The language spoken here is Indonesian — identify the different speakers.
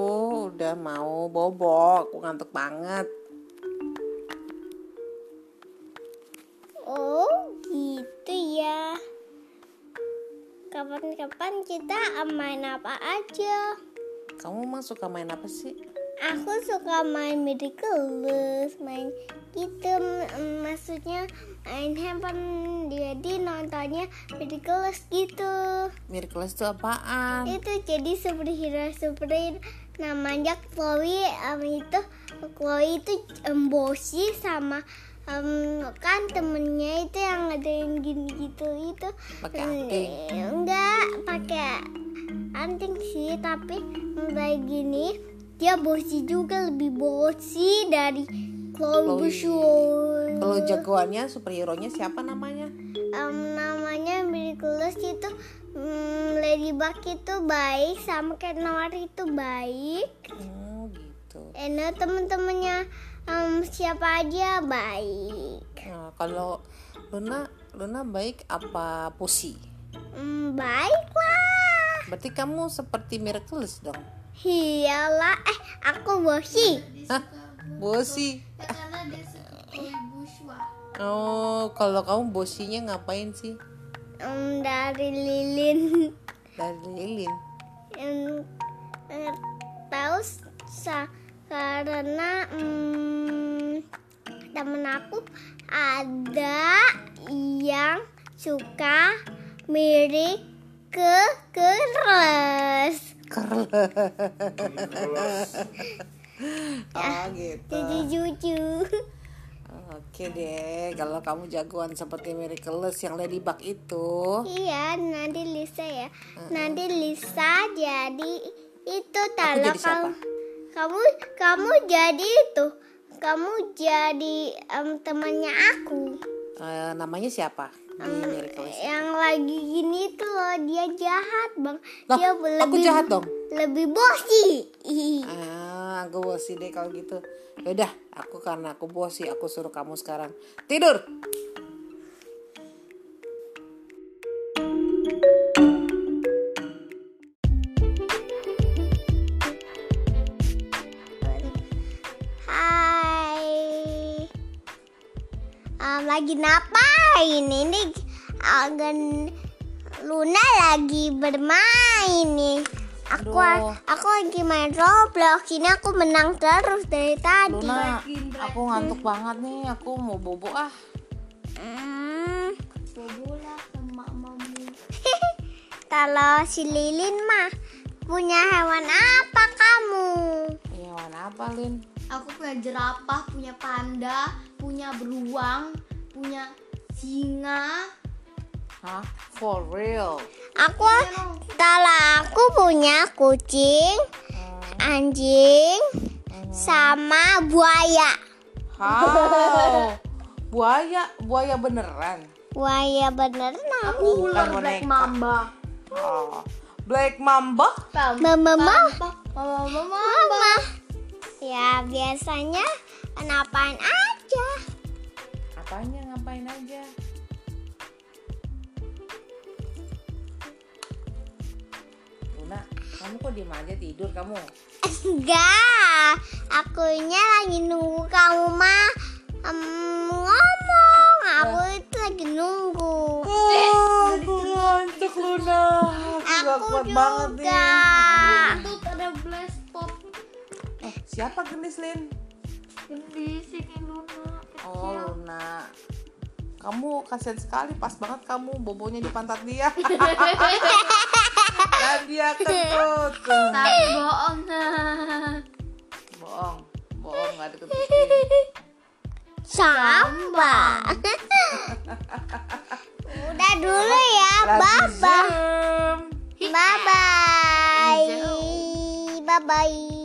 Speaker 1: udah mau bobo, aku ngantuk banget.
Speaker 2: Oh, gitu ya. Kapan-kapan kita main apa aja?
Speaker 1: Kamu emang suka main apa sih?
Speaker 2: Aku suka main Miraculous, main gitu mm, maksudnya main handphone jadi nontonnya Miraculous gitu.
Speaker 1: Miraculous itu apaan?
Speaker 2: Itu jadi superhero superhero namanya Chloe em, itu Chloe itu em, Boshi sama em, kan temennya itu yang ngadain gini gitu itu
Speaker 1: Pakai
Speaker 2: em,
Speaker 1: anting.
Speaker 2: enggak pakai anting sih tapi em, kayak gini dia bosi juga lebih bosi dari Chloe
Speaker 1: Chloe.
Speaker 2: Bushu
Speaker 1: Kalau jagoannya, superhero-nya siapa namanya?
Speaker 2: Em, namanya Miraculous itu em, Ladybug itu baik sama Kenari itu baik
Speaker 1: Oh gitu.
Speaker 2: Eno temen-temennya em, siapa aja baik
Speaker 1: Nah, kalau Luna, Luna baik apa pusi?
Speaker 2: Em, baik lah
Speaker 1: Berarti kamu seperti Miraculous dong.
Speaker 2: iyalah eh aku bosi
Speaker 1: Hah? Bosi.
Speaker 3: karena dia suka kue bushwa
Speaker 1: Oh, kalau kamu bosinya ngapain sih?
Speaker 2: Em, dari lilin
Speaker 1: Dari lilin.
Speaker 2: Em, eh, tahu sa- karena em, temen aku ada yang suka mirip ke keras
Speaker 1: Oh gitu.
Speaker 2: jadi lucu
Speaker 1: Oke deh, kalau kamu jagoan seperti Miraculous yang Ladybug itu,
Speaker 2: iya nanti Lisa ya nanti Lisa jadi itu kalau
Speaker 1: jadi siapa?
Speaker 2: kamu kamu kamu jadi itu kamu jadi em, temannya aku
Speaker 1: eh, namanya siapa? Di Miraculous.
Speaker 2: yang lagi gini tuh loh dia jahat bang
Speaker 1: Lah,
Speaker 2: dia
Speaker 1: aku jahat dong.
Speaker 2: lebih bosi
Speaker 1: Ah, aku bosi deh kalau gitu. Yaudah, aku karena aku bosi, aku suruh kamu sekarang tidur.
Speaker 2: Hai Em, lagi ngapain ini agen Luna lagi bermain nih aku
Speaker 1: Aduh.
Speaker 2: aku lagi main Roblox ini aku menang terus dari tadi
Speaker 1: Luna, aku ngantuk banget nih, aku mau bobo ah.
Speaker 2: Hmm.
Speaker 3: bobola sama mami
Speaker 2: Kalau si Lilin mah punya hewan apa kamu?
Speaker 1: Iya, warna apa, Lin?
Speaker 3: aku punya jerapah punya panda punya beruang punya singa
Speaker 1: Hah? For real?
Speaker 2: Aku kalau aku punya kucing,
Speaker 3: Oh.
Speaker 2: anjing, sama buaya.
Speaker 1: How? Buaya, buaya beneran.
Speaker 2: Buaya beneran
Speaker 3: aku ular black
Speaker 1: boneka.
Speaker 3: mamba
Speaker 1: Oh. Black Mamba?
Speaker 3: pam
Speaker 2: Mama mama.
Speaker 3: pam, pam, pam, pam.
Speaker 2: mama. Ya biasanya kenapain aja.
Speaker 1: Apanya ngapain aja? Luna, kamu kok diem aja tidur kamu? Eh,
Speaker 2: Enggak, akunya lagi nunggu kamu mah em, ngomong. Aku itu lagi nunggu.
Speaker 1: aku Oh, ngantuk Luna. Aku, gak
Speaker 2: Aku
Speaker 1: kuat banget
Speaker 2: juga.
Speaker 1: nih.
Speaker 3: Kentut ada blast pop
Speaker 1: Eh, siapa gendis Lin?
Speaker 3: gede sih kayak Luna
Speaker 1: Oh Luna. Kamu kasihan sekali, pas banget kamu bobonya di pantat dia. Dan dia kentut.
Speaker 3: tapi bohong nah
Speaker 1: Bohong, bohong gak ada kentutnya.
Speaker 2: Samba. Udah dulu ya. Bye
Speaker 1: Lagi
Speaker 2: bye.
Speaker 1: jam.
Speaker 2: Bye bye.